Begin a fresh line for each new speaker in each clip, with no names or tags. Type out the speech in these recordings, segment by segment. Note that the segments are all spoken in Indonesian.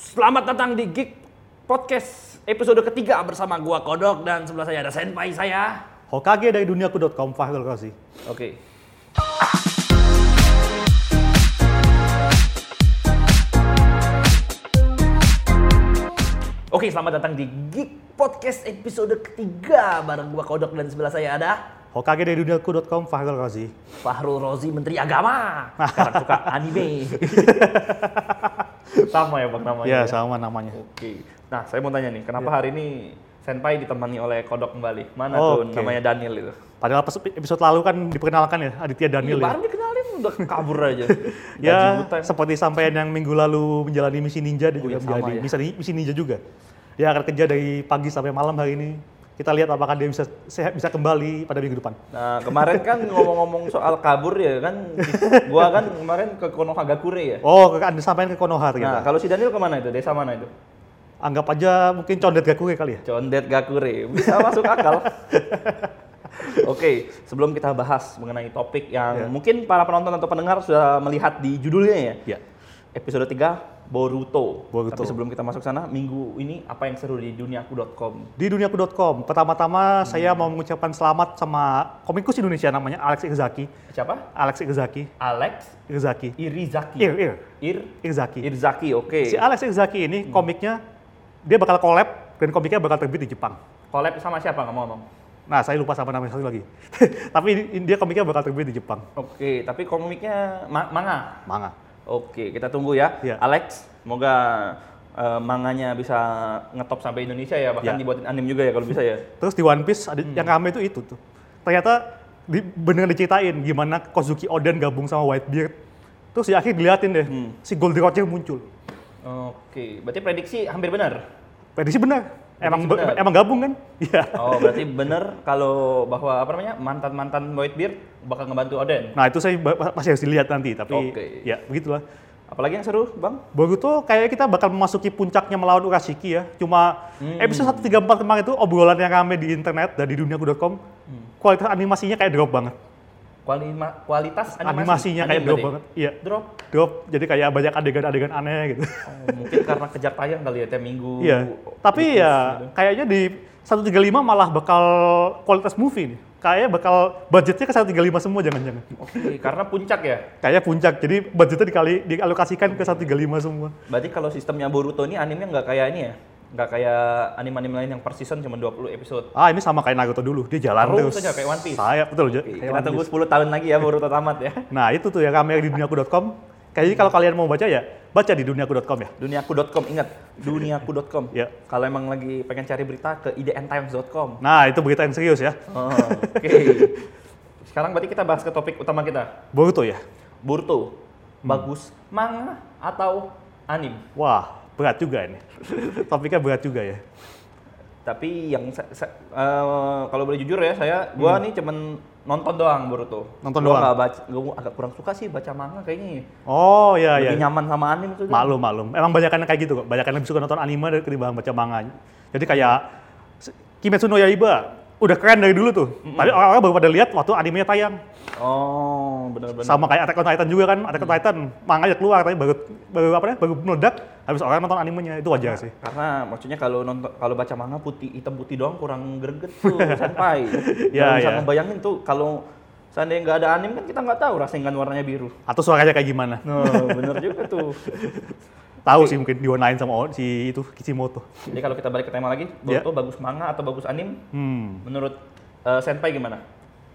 Selamat datang di Geek Podcast episode ketiga bersama gua Kodok dan sebelah saya ada senpai saya.
Hokage dari duniaku.com Fahrul Rozi.
Oke. Oke, selamat datang di Geek Podcast episode ketiga bareng gua Kodok dan sebelah saya ada
Hokage dari duniaku.com Fahrul Rozi.
Fahrul Rozi Menteri Agama. Sekarang suka anime. Sama ya Bang namanya.
Ya,
ya?
sama namanya.
Oke. Nah, saya mau tanya nih, kenapa
Iya.
hari ini Senpai ditemani oleh Kodok kembali? Mana tuh
Oke.
namanya Daniel itu?
Padahal pas episode lalu kan diperkenalkan ya Aditya Daniel
Ini
ya.
baru dikenalin udah kabur aja.
Ya,
Gaji buta.
seperti sampai yang minggu lalu menjalani misi ninja dia
Oh
juga
iya, sama
menjadi
ya.
misi, misi ninja juga. Dia akan kerja dari pagi sampai malam hari ini. Kita lihat apakah dia bisa sehat bisa kembali pada minggu depan.
Nah, kemarin kan ngomong-ngomong soal kabur ya kan, gua kan kemarin ke Konohagakure ya.
Oh, Anda sampaikan ke Konoha
Nah,
ternyata.
kalau si Daniel kemana itu? Desa mana itu?
Anggap aja mungkin condet Gakure kali ya.
Condet Gakure, bisa masuk akal. Oke, sebelum kita bahas mengenai topik
Ya.
yang mungkin para penonton atau pendengar sudah melihat di judulnya ya.
Iya.
Episode 3 Boruto.
Boruto.
Tapi sebelum kita masuk sana, minggu ini apa yang seru di duniaku.com?
Di duniaku.com, pertama-tama
Hmm.
saya mau mengucapkan selamat sama komikus Indonesia namanya Alex Irzaki.
Siapa?
Alex Irzaki.
Alex
Irzaki.
Irizaki.
Ir, Ir.
Ir
Irzaki.
Irizaki, oke.
Iya, Si Alex Irzaki ini komiknya, dia bakal collab dan komiknya bakal terbit di Jepang.
Collab sama siapa nggak mau ngomong?
Nah, saya lupa sama namanya satu lagi. Tapi ini- ini dia komiknya bakal terbit di Jepang.
Oke, tapi komiknya ma- manga.
Manga.
Oke, kita tunggu ya.
Iya.
Alex, semoga eh, manganya bisa ngetop sampai Indonesia ya, bahkan
Iya.
dibuatin anime juga ya kalau bisa ya.
Terus di One Piece ada, yang rame itu itu tuh. Ternyata di, beneran diceritain gimana Kozuki Oden gabung sama Whitebeard. Terus di akhir diliatin deh, si Goldie Roger muncul.
Oke, berarti prediksi hampir benar.
Prediksi benar. Emang be-
benar.
emang gabung kan? Iya.
Oh, berarti benar kalau bahwa apa namanya? mantan-mantan Whitebeard bakal ngebantu Oden.
Nah, itu saya ba- masih harus dilihat nanti, tapi
Oke.
ya begitulah.
Apalagi yang seru, Bang?
Boruto kayaknya kita bakal memasuki puncaknya melawan Urashiki ya. Cuma
Hmm.
episode 134 kemarin itu obrolan yang rame di internet dan di duniaku.com.
Hmm.
Kualitas animasinya kayak drop banget.
Kualima- kualitas animasi.
Animasinya kayak
Anime
drop
berarti?
banget. Iya.
Drop.
Drop. Jadi kayak banyak adegan-adegan aneh gitu.
Oh, mungkin karena kejar tayang kali ya tiap minggu.
Iya. Tapi
Terus,
ya
gitu.
kayaknya di 135 malah bakal kualitas movie nih. Kayaknya bakal budgetnya ke 135 semua jangan-jangan.
Oke, karena puncak ya.
Kayaknya puncak. Jadi budgetnya dikali dialokasikan ke 135 semua.
Berarti kalau sistemnya Boruto ini animenya nggak kayak ini ya? Nggak kayak anime-anime lain yang per season cuma 20 episode.
Ah, ini sama kayak Naruto dulu. Dia jalan
Terus
terus.
aja, kayak One Piece.
Saya betul. Ja-
Oke,
kayak
kita
One
tunggu 10 tahun lagi ya Boruto tamat ya.
Nah itu tuh ya kami di duniaku.com. Kayaknya kalau kalian mau baca ya, baca di duniaku.com ya.
Duniaku.com ingat, duniaku.com.
Ya.
Kalau emang lagi pengen cari berita ke idntimes.com.
Nah itu berita yang serius ya.
Oh, Oke. Sekarang berarti kita bahas ke topik utama kita.
Boruto ya.
Boruto
Hmm.
bagus manga atau anime?
Wah berat juga ini. Topiknya berat juga ya.
Tapi yang sa- sa- eh, kalau boleh jujur ya saya gua nih cuman nonton doang Boruto.
Hmm. Nonton
Gua
doang?
nggak baca, gua agak kurang suka sih baca manga kayaknya. ya.
Oh iya
Lebih
iya.
nyaman sama anime tuh.
Maklum maklum. Emang banyak yang kayak gitu kok. Banyak yang lebih suka nonton anime dari- ketimbang baca manga. Jadi kayak se- Kimetsu no Yaiba udah keren dari dulu tuh. Tapi orang-orang baru pada lihat waktu animenya tayang.
Oh, benar-benar.
Sama kayak Attack on Titan juga kan. Attack on Titan manganya keluar tapi baru baru apa ya? Baru meledak habis orang nonton animenya. Itu wajar sih.
Karena maksudnya kalau nonton kalau baca manga putih hitam putih doang kurang greget tuh senpai.
Ya,
Nggak bisa
ya.
ngebayangin tuh kalau seandainya nggak ada anime kan kita nggak tahu rasengan warnanya biru.
Atau suaranya kayak gimana.
Nah, bener juga tuh.
Tahu sih mungkin diwarnain sama o- si itu Kishimoto.
Jadi kalau kita balik ke tema lagi, Boruto bagus manga atau bagus anime?
Ya. Hmm.
Menurut eh, senpai gimana?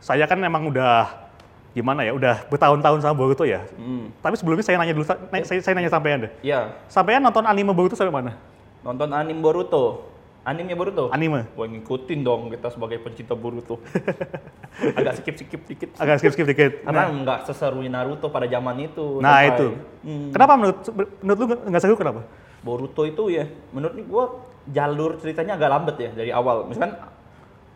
Saya kan emang udah gimana ya, udah bertahun-tahun sama Boruto ya.
Hmm.
Tapi sebelumnya saya nanya dulu, sa- na- saya, saya nanya sampean deh.
Iya,
Sampean nonton anime Boruto sampai mana?
nonton anime Boruto. Animenya Boruto?
Anime.
Wah ngikutin dong kita sebagai pencinta Boruto. Agak skip-skip dikit.
Agak skip-skip dikit.
Karena nggak seseru Naruto pada zaman itu.
Nah
senpai.
itu.
Hmm.
Kenapa menurut menurut lu nggak seru kenapa?
Boruto itu ya, menurut gue jalur ceritanya agak lambat ya dari awal. Misalkan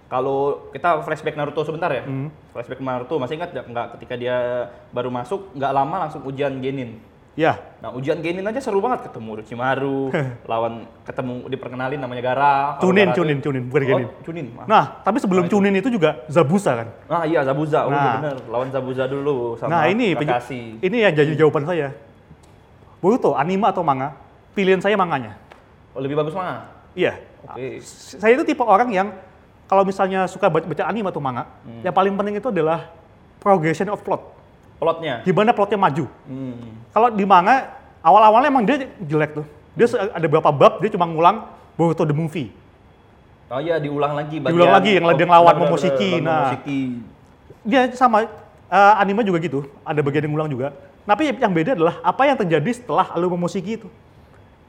kalau kita flashback Naruto sebentar ya,
Hmm.
flashback Naruto masih ingat nggak- nggak ketika dia baru masuk nggak lama langsung ujian genin.
Ya,
Nah ujian genin aja seru banget ketemu Orochimaru, lawan ketemu diperkenalin namanya Gara. Kalau
Chunin,
Gara tuh-
Chunin, Chunin, bukan Genin.
Oh, Chunin. Nah,
Nah, tapi sebelum Chunin itu juga Zabuza kan.
nah iya Zabuza, oh,
Nah.
bener. Lawan Zabuza dulu sama
nah, ini penj-
Kakashi.
ini yang jadi jawaban saya. Boruto anime atau manga? pilihan saya manganya.
Oh, lebih bagus mana?
Iya.
Oke.
Saya itu tipe orang yang kalau misalnya suka baca, baca anime atau manga, yang paling penting itu adalah progression of plot.
Plotnya.
Gimana plotnya maju.
Hmm.
Kalau di manga awal-awalnya emang dia jelek tuh. Dia se- ada beberapa bab dia cuma ngulang Boruto the movie.
Oh iya diulang lagi
Diulang lagi, yang dia ngelawan Momoshiki, nah.
Momoshiki.
Dia sama eh, anime juga gitu, ada bagian yang ngulang juga. Tapi yang beda adalah apa yang terjadi setelah Alu Momoshiki itu.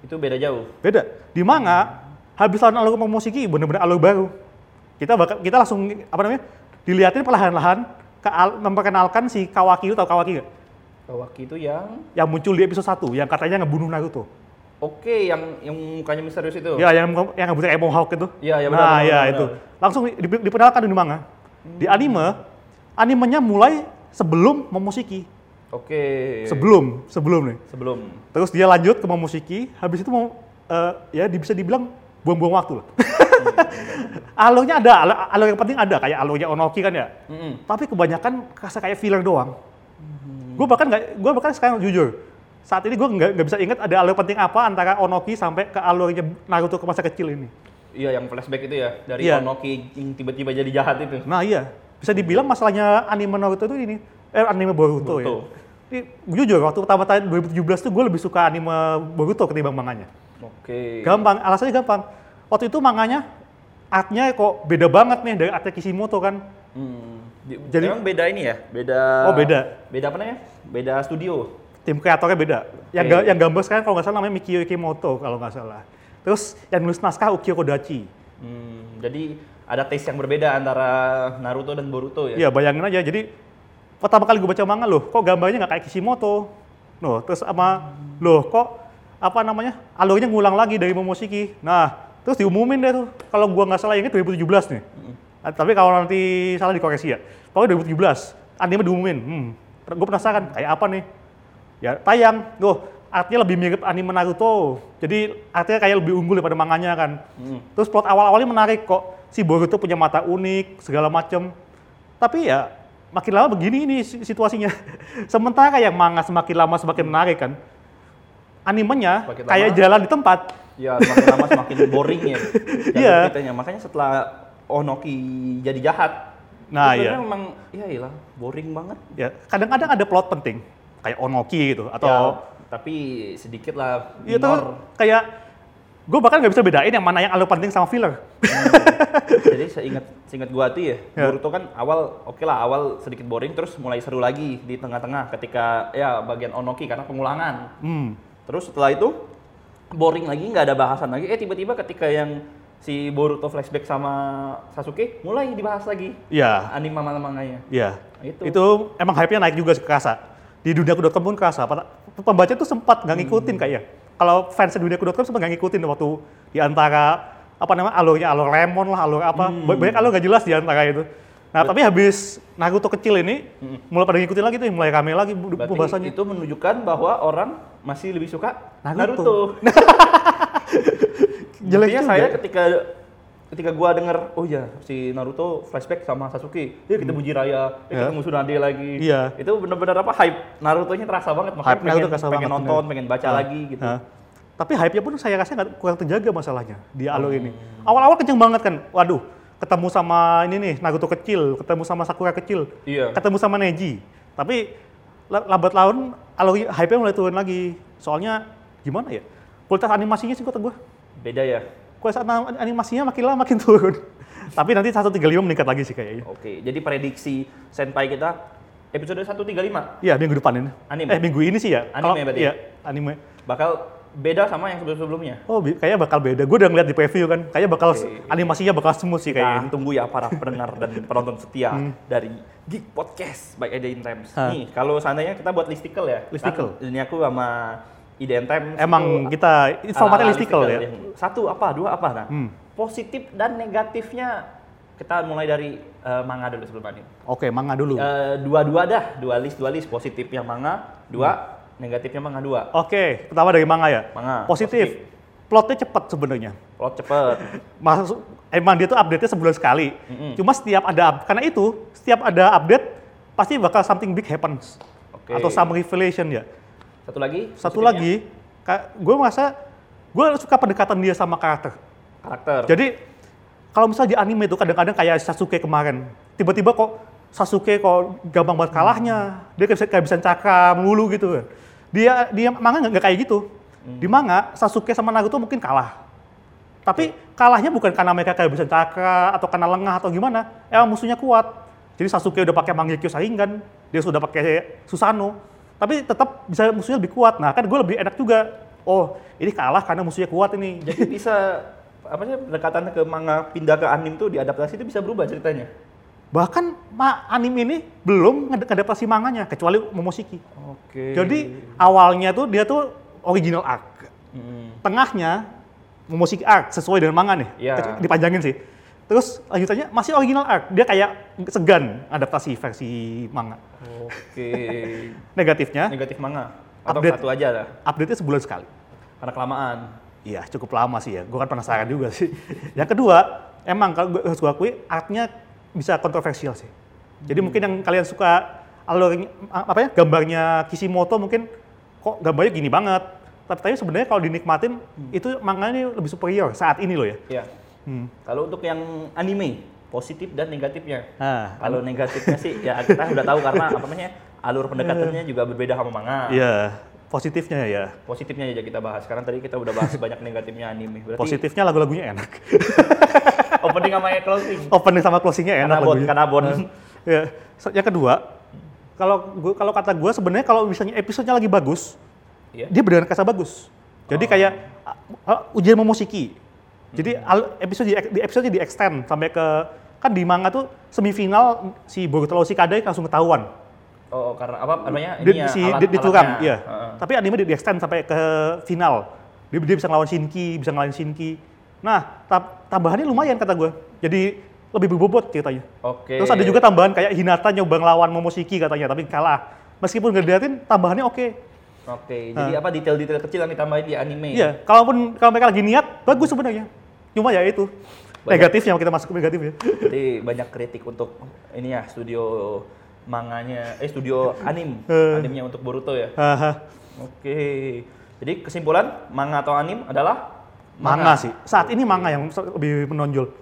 Itu beda jauh.
Beda. Di manga habis lawan Alu Momoshiki bener-bener Alu baru. Kita bakal kita langsung apa namanya? dilihatin perlahan-lahan ke al- memperkenalkan si Kawaki itu tahu Kawaki nggak?
Kawaki itu yang
Yang muncul di episode 1 yang katanya ngebunuh Naruto.
oke yang yang mukanya misterius itu.
Ya, yang yang rambutnya kayak mohawk itu.
Iya, iya, benar,
Nah,
benar,
ya
benar,
itu. Langsung di- di- diperkenalkan di manga. Di anime, animenya mulai sebelum Momoshiki.
Oke.
Sebelum, sebelum nih.
Sebelum.
Terus dia lanjut ke Momoshiki, habis itu mau eh, ya di- bisa dibilang buang-buang waktu lah. alurnya ada, alur, alur yang penting ada kayak alurnya Onoki kan ya.
Mm-mm.
Tapi kebanyakan kerasa kayak filler doang. Gue bahkan nggak, gue bahkan sekarang jujur, saat ini gue nggak nggak bisa ingat ada alur penting apa antara Onoki sampai ke alurnya Naruto ke masa kecil ini.
Iya yang flashback itu ya dari
Iya.
Onoki yang tiba-tiba jadi jahat itu.
Nah iya, bisa dibilang masalahnya anime Naruto itu ini, eh anime Boruto,
Boruto.
ya. Ini, jujur, waktu pertama tahun 2017 tuh gue lebih suka anime Boruto ketimbang manganya.
Oke.
Gampang, alasannya gampang. Waktu itu manganya, artnya kok beda banget nih dari artnya Kishimoto kan.
Hmm. Di-
Jadi-
emang beda ini ya? Beda
Oh, beda.
Beda apa namanya? Beda studio.
Tim kreatornya beda. Yang,
Oke.
ga- yang gambar sekarang kalau nggak salah namanya Mikio Ikimoto kalau nggak salah. Terus yang nulis naskah Ukyo Kodachi.
Hmm, jadi ada taste yang berbeda antara Naruto dan Boruto ya.
Iya bayangin aja, jadi pertama kali gue baca manga loh, kok gambarnya nggak kayak Kishimoto? Loh, terus sama, loh kok apa namanya, alurnya ngulang lagi dari Momoshiki. Nah, terus diumumin deh tuh, kalau gua nggak salah ingat 2017 nih. Ah, Tapi kalau nanti salah dikoreksi ya. Pokoknya 2017, anime diumumin. Hmm, gue penasaran, kayak apa nih? Ya tayang, loh artinya lebih mirip anime Naruto. Jadi artinya kayak lebih unggul daripada manganya kan.
Hmm.
Terus plot awal-awalnya menarik kok. Si Boruto punya mata unik, segala macem. Tapi ya makin lama begini ini si- situasinya. Sementara yang manga semakin lama semakin menarik kan. Animenya
Semakin lama.
kayak jalan di tempat.
Ya, semakin lama semakin boring ya. jalur
Iya.
ceritanya. Makanya setelah Onoki jadi jahat.
Nah,
itu sebenarnya
iya.
memang ya iyalah, boring banget.
Ya, kadang-kadang ada plot penting kayak Onoki gitu atau
Ya, tapi sedikit lah
ya, itu
minor.
kayak gue bahkan nggak bisa bedain yang mana yang alur penting sama filler.
jadi seingat seingat gua tuh ya,
Ya.
Boruto kan awal oke lah awal sedikit boring terus mulai seru lagi di tengah-tengah ketika ya bagian Onoki karena pengulangan.
Hmm.
Terus setelah itu boring lagi nggak ada bahasan lagi. Eh tiba-tiba ketika yang si Boruto flashback sama Sasuke mulai dibahas lagi
Ya,
anime manganya.
ya.
Itu.
Itu. emang hype-nya naik juga sih, kerasa. Di duniaku.com pun kerasa. Pat- Pembaca tuh sempat nggak ngikutin kayaknya. Kalau fans di duniaku.com sempat nggak ngikutin waktu di antara apa namanya alurnya alur lemon lah alur apa
Hmm.
Ba- banyak alur nggak jelas di antara itu. Nah tapi habis Naruto kecil ini mulai pada ngikutin lagi tuh mulai rame lagi bu-
Hmm. Berarti
pembahasannya.
itu menunjukkan bahwa orang masih lebih suka Naruto.
Naruto. Jelek
Intinya
juga.
saya ketika ketika gua denger oh ya si Naruto flashback sama Sasuke, ya kita buji Raya, ya
Ya.
kita musuh Nade lagi.
Hmm. Iya.
Itu benar-benar apa hype Naruto-nya terasa banget makanya
Hype
pengen,
Naruto kerasa
pengen
banget,
nonton,
bener.
pengen baca
Ah.
lagi gitu.
Nah, tapi hype-nya pun saya rasa nggak kurang terjaga masalahnya di
Oh.
alur ini. Awal-awal kenceng banget kan. Waduh, ketemu sama ini nih Naruto kecil, ketemu sama Sakura kecil,
Iya.
ketemu sama Neji. Tapi la- lambat laun alur hype-nya mulai turun lagi. Soalnya gimana ya? Kualitas animasinya sih kata gue.
Beda ya.
Kualitas ana- animasinya makin lama makin turun. tapi nanti 135 meningkat lagi sih kayaknya.
Oke, jadi prediksi senpai kita episode 135
Iya, minggu depan ini.
Anime.
Eh, minggu ini sih ya.
Anime
Kalau-
berarti ya?
Iya, anime.
bakal beda sama yang sebelum-sebelumnya.
Oh, bi- kayaknya bakal beda. Gue udah ngeliat di preview kan, kayaknya bakal
Oke.
animasinya bakal smooth sih
Kita
kayaknya.
tunggu ya para pendengar dan penonton setia
Hmm.
dari Geek Podcast by Ida in Times.
Hah.
Nih, kalau seandainya kita buat listicle ya.
Listicle.
Kan ini aku sama Ida in Times.
Emang
itu
kita ini formatnya
ala-ala
listicle ya.
yang Satu apa, dua apa. Nah,
Hmm.
positif dan negatifnya kita mulai dari eh, manga dulu sebelum ini.
Oke, manga dulu. Oke,
Eh, dua-dua dah, dua list, dua list. Positifnya manga, dua.
Hmm.
Negatifnya manga, dua.
pertama dari manga ya.
Manga,
Positif. Plotnya cepat sebenarnya.
Plot cepet.
Masuk emang dia tuh update-nya sebulan sekali.
Mm-mm.
Cuma setiap ada up- karena itu setiap ada update pasti bakal something big happens
Oke.
atau some revelation ya.
Satu lagi?
Satu
positifnya.
lagi, gue merasa Gue suka pendekatan dia sama karakter.
Karakter.
Jadi kalau misalnya di anime itu kadang-kadang kayak Sasuke kemarin, tiba-tiba kok Sasuke kok gampang banget kalahnya, dia kayak bisa kehabisan cakra melulu gitu kan. Dia dia manga nggak nggak kayak gitu. Di manga Sasuke sama Naruto mungkin kalah. Tapi kalahnya bukan karena mereka kehabisan cakra atau karena lengah atau gimana. Emang musuhnya kuat. Jadi Sasuke udah pakai Mangekyou Sharingan, dia sudah pakai Susanoo. Tapi tetap bisa musuhnya lebih kuat. Nah, kan gue lebih enak juga. Oh, ini kalah karena musuhnya kuat ini.
Jadi bisa apa sih pendekatan ke manga pindah ke anime tuh diadaptasi itu bisa berubah ceritanya.
Bahkan ma anime ini belum nged- ngadaptasi manganya kecuali Momoshiki.
Oke.
Jadi awalnya tuh dia tuh original arc. Hmm.
Mm.
Tengahnya Momoshiki arc sesuai dengan manga nih.
Iya.
Kecu- Dipanjangin sih. Terus lanjutannya masih original arc. Dia kayak segan adaptasi versi manga.
Oke.
Negatifnya,
Negatif manga atau
Update.
satu aja lah
update-nya sebulan sekali.
karena kelamaan.
Iya, cukup lama sih ya. Gue kan penasaran juga sih. Yang kedua, emang kalau gue harus gue akui, artnya bisa kontroversial sih. Jadi mungkin yang kalian suka alurnya, a- apa ya, gambarnya Kishimoto mungkin kok gambarnya gini banget. Tapi, tapi sebenarnya kalau dinikmatin, itu manga ini lebih superior saat ini loh ya.
Ya.
Hmm.
Kalau untuk yang anime positif dan negatifnya.
Nah,
Kalau negatifnya sih ya kita udah tahu karena apa namanya alur pendekatannya
Eh.
juga berbeda sama manga.
iya, positifnya ya.
Positifnya aja kita bahas. Karena tadi kita udah bahas banyak negatifnya anime. Berarti
Positifnya lagu-lagunya enak.
opening sama closing.
Opening sama closingnya
Karena
enak
bon,
lagunya.
karena bon.
ya. so- Yang kedua, kalau gua, kalau kata gue sebenarnya kalau misalnya episodenya lagi bagus,
Iya. Oh.
dia beneran kerasa bagus. Jadi kayak uh, uh, ujian memusiki. Jadi
Hmm.
al- episode di, di episode di extend sampai ke kan di manga tuh semifinal si Boruto Law si Kadai langsung ketahuan.
Oh, oh, karena apa namanya?
Dia,
Ini ya,
si
alat-
dia dicurang,
alatnya.
iya.
Heeh.
Tapi anime di, di extend sampai ke final. Dia, dia bisa ngelawan Shinki, bisa ngelawan Shinki. Nah, ta- tambahannya lumayan kata gue. Jadi lebih berbobot ceritanya.
Oke.
Terus ada juga tambahan kayak Hinata nyoba ngelawan Momoshiki katanya, tapi kalah. Meskipun gak diliatin, tambahannya oke.
Oke, jadi apa detail-detail kecil yang ditambahin di
Ah.
anime?
Iya, kalaupun kalau mereka lagi niat, bagus sebenarnya. Cuma ya itu. Negatifnya, kita masuk ke negatif ya.
Jadi banyak kritik untuk ini ya studio manganya, eh studio anim,
Eh.
animnya untuk Boruto ya.
Haha.
Oke. Jadi kesimpulan manga atau anim adalah
manga sih. Saat ini manga yang so- lebih menonjol.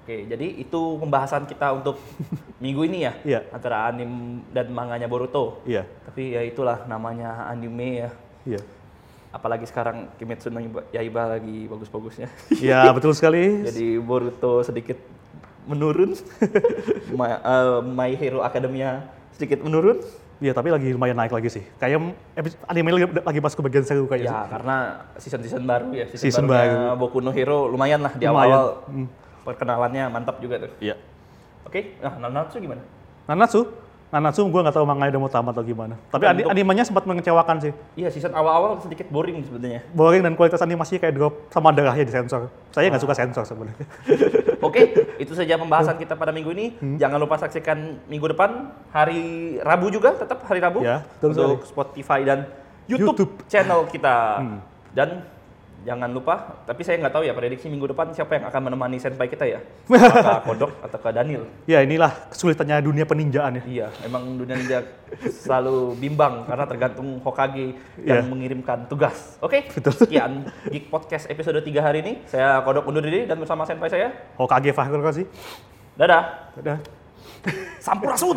Oke, jadi itu pembahasan kita untuk minggu ini ya
Iya.
antara anim dan manganya Boruto.
Iya,
Tapi ya itulah namanya anime ya.
iya.
Apalagi sekarang Kimetsu no Yaiba lagi bagus-bagusnya.
Iya, betul sekali.
Jadi Boruto sedikit menurun. My, eh, My Hero Academia sedikit menurun.
Iya, tapi lagi lumayan naik lagi sih. Kayak episode- anime lagi, lagi masuk ke bagian seru kayaknya.
Ya, karena season-season baru ya.
Season
barunya Boku no Hero lumayan lah di
Lumayan. Hmm.
awal-awal. Perkenalannya mantap juga tuh.
Iya.
Oke, nah Nanatsu gimana?
Nanatsu? Nanatsu gue nggak tahu manganya udah mau tamat atau gimana. Tapi ani-
Untuk-
animenya sempat mengecewakan sih.
Iya, season awal-awal sedikit boring sebenarnya.
boring dan kualitas animasinya kayak drop sama darahnya disensor. Saya nggak suka sensor sebenarnya.
Oke, itu saja pembahasan kita pada minggu ini.
Hmm.
Jangan lupa saksikan minggu depan hari Rabu juga, tetap hari Rabu
Ya, betul
untuk Spotify dan YouTube,
YouTube. Hmm.
channel kita. Dan jangan lupa, tapi saya nggak tahu ya prediksi minggu depan siapa yang akan menemani senpai kita ya? Apakah Kodok atau ke Daniel?
ya inilah kesulitannya dunia peninjaan ya.
Iya, emang dunia ninja selalu bimbang karena tergantung Hokage
Iya.
yang mengirimkan tugas. Oke,
Betul.
sekian Geek Podcast episode 3 hari ini. Saya Kodok undur diri dan bersama senpai saya.
Hokage kan Fahrul kasih.
Dadah.
Dadah.
Sampurasun.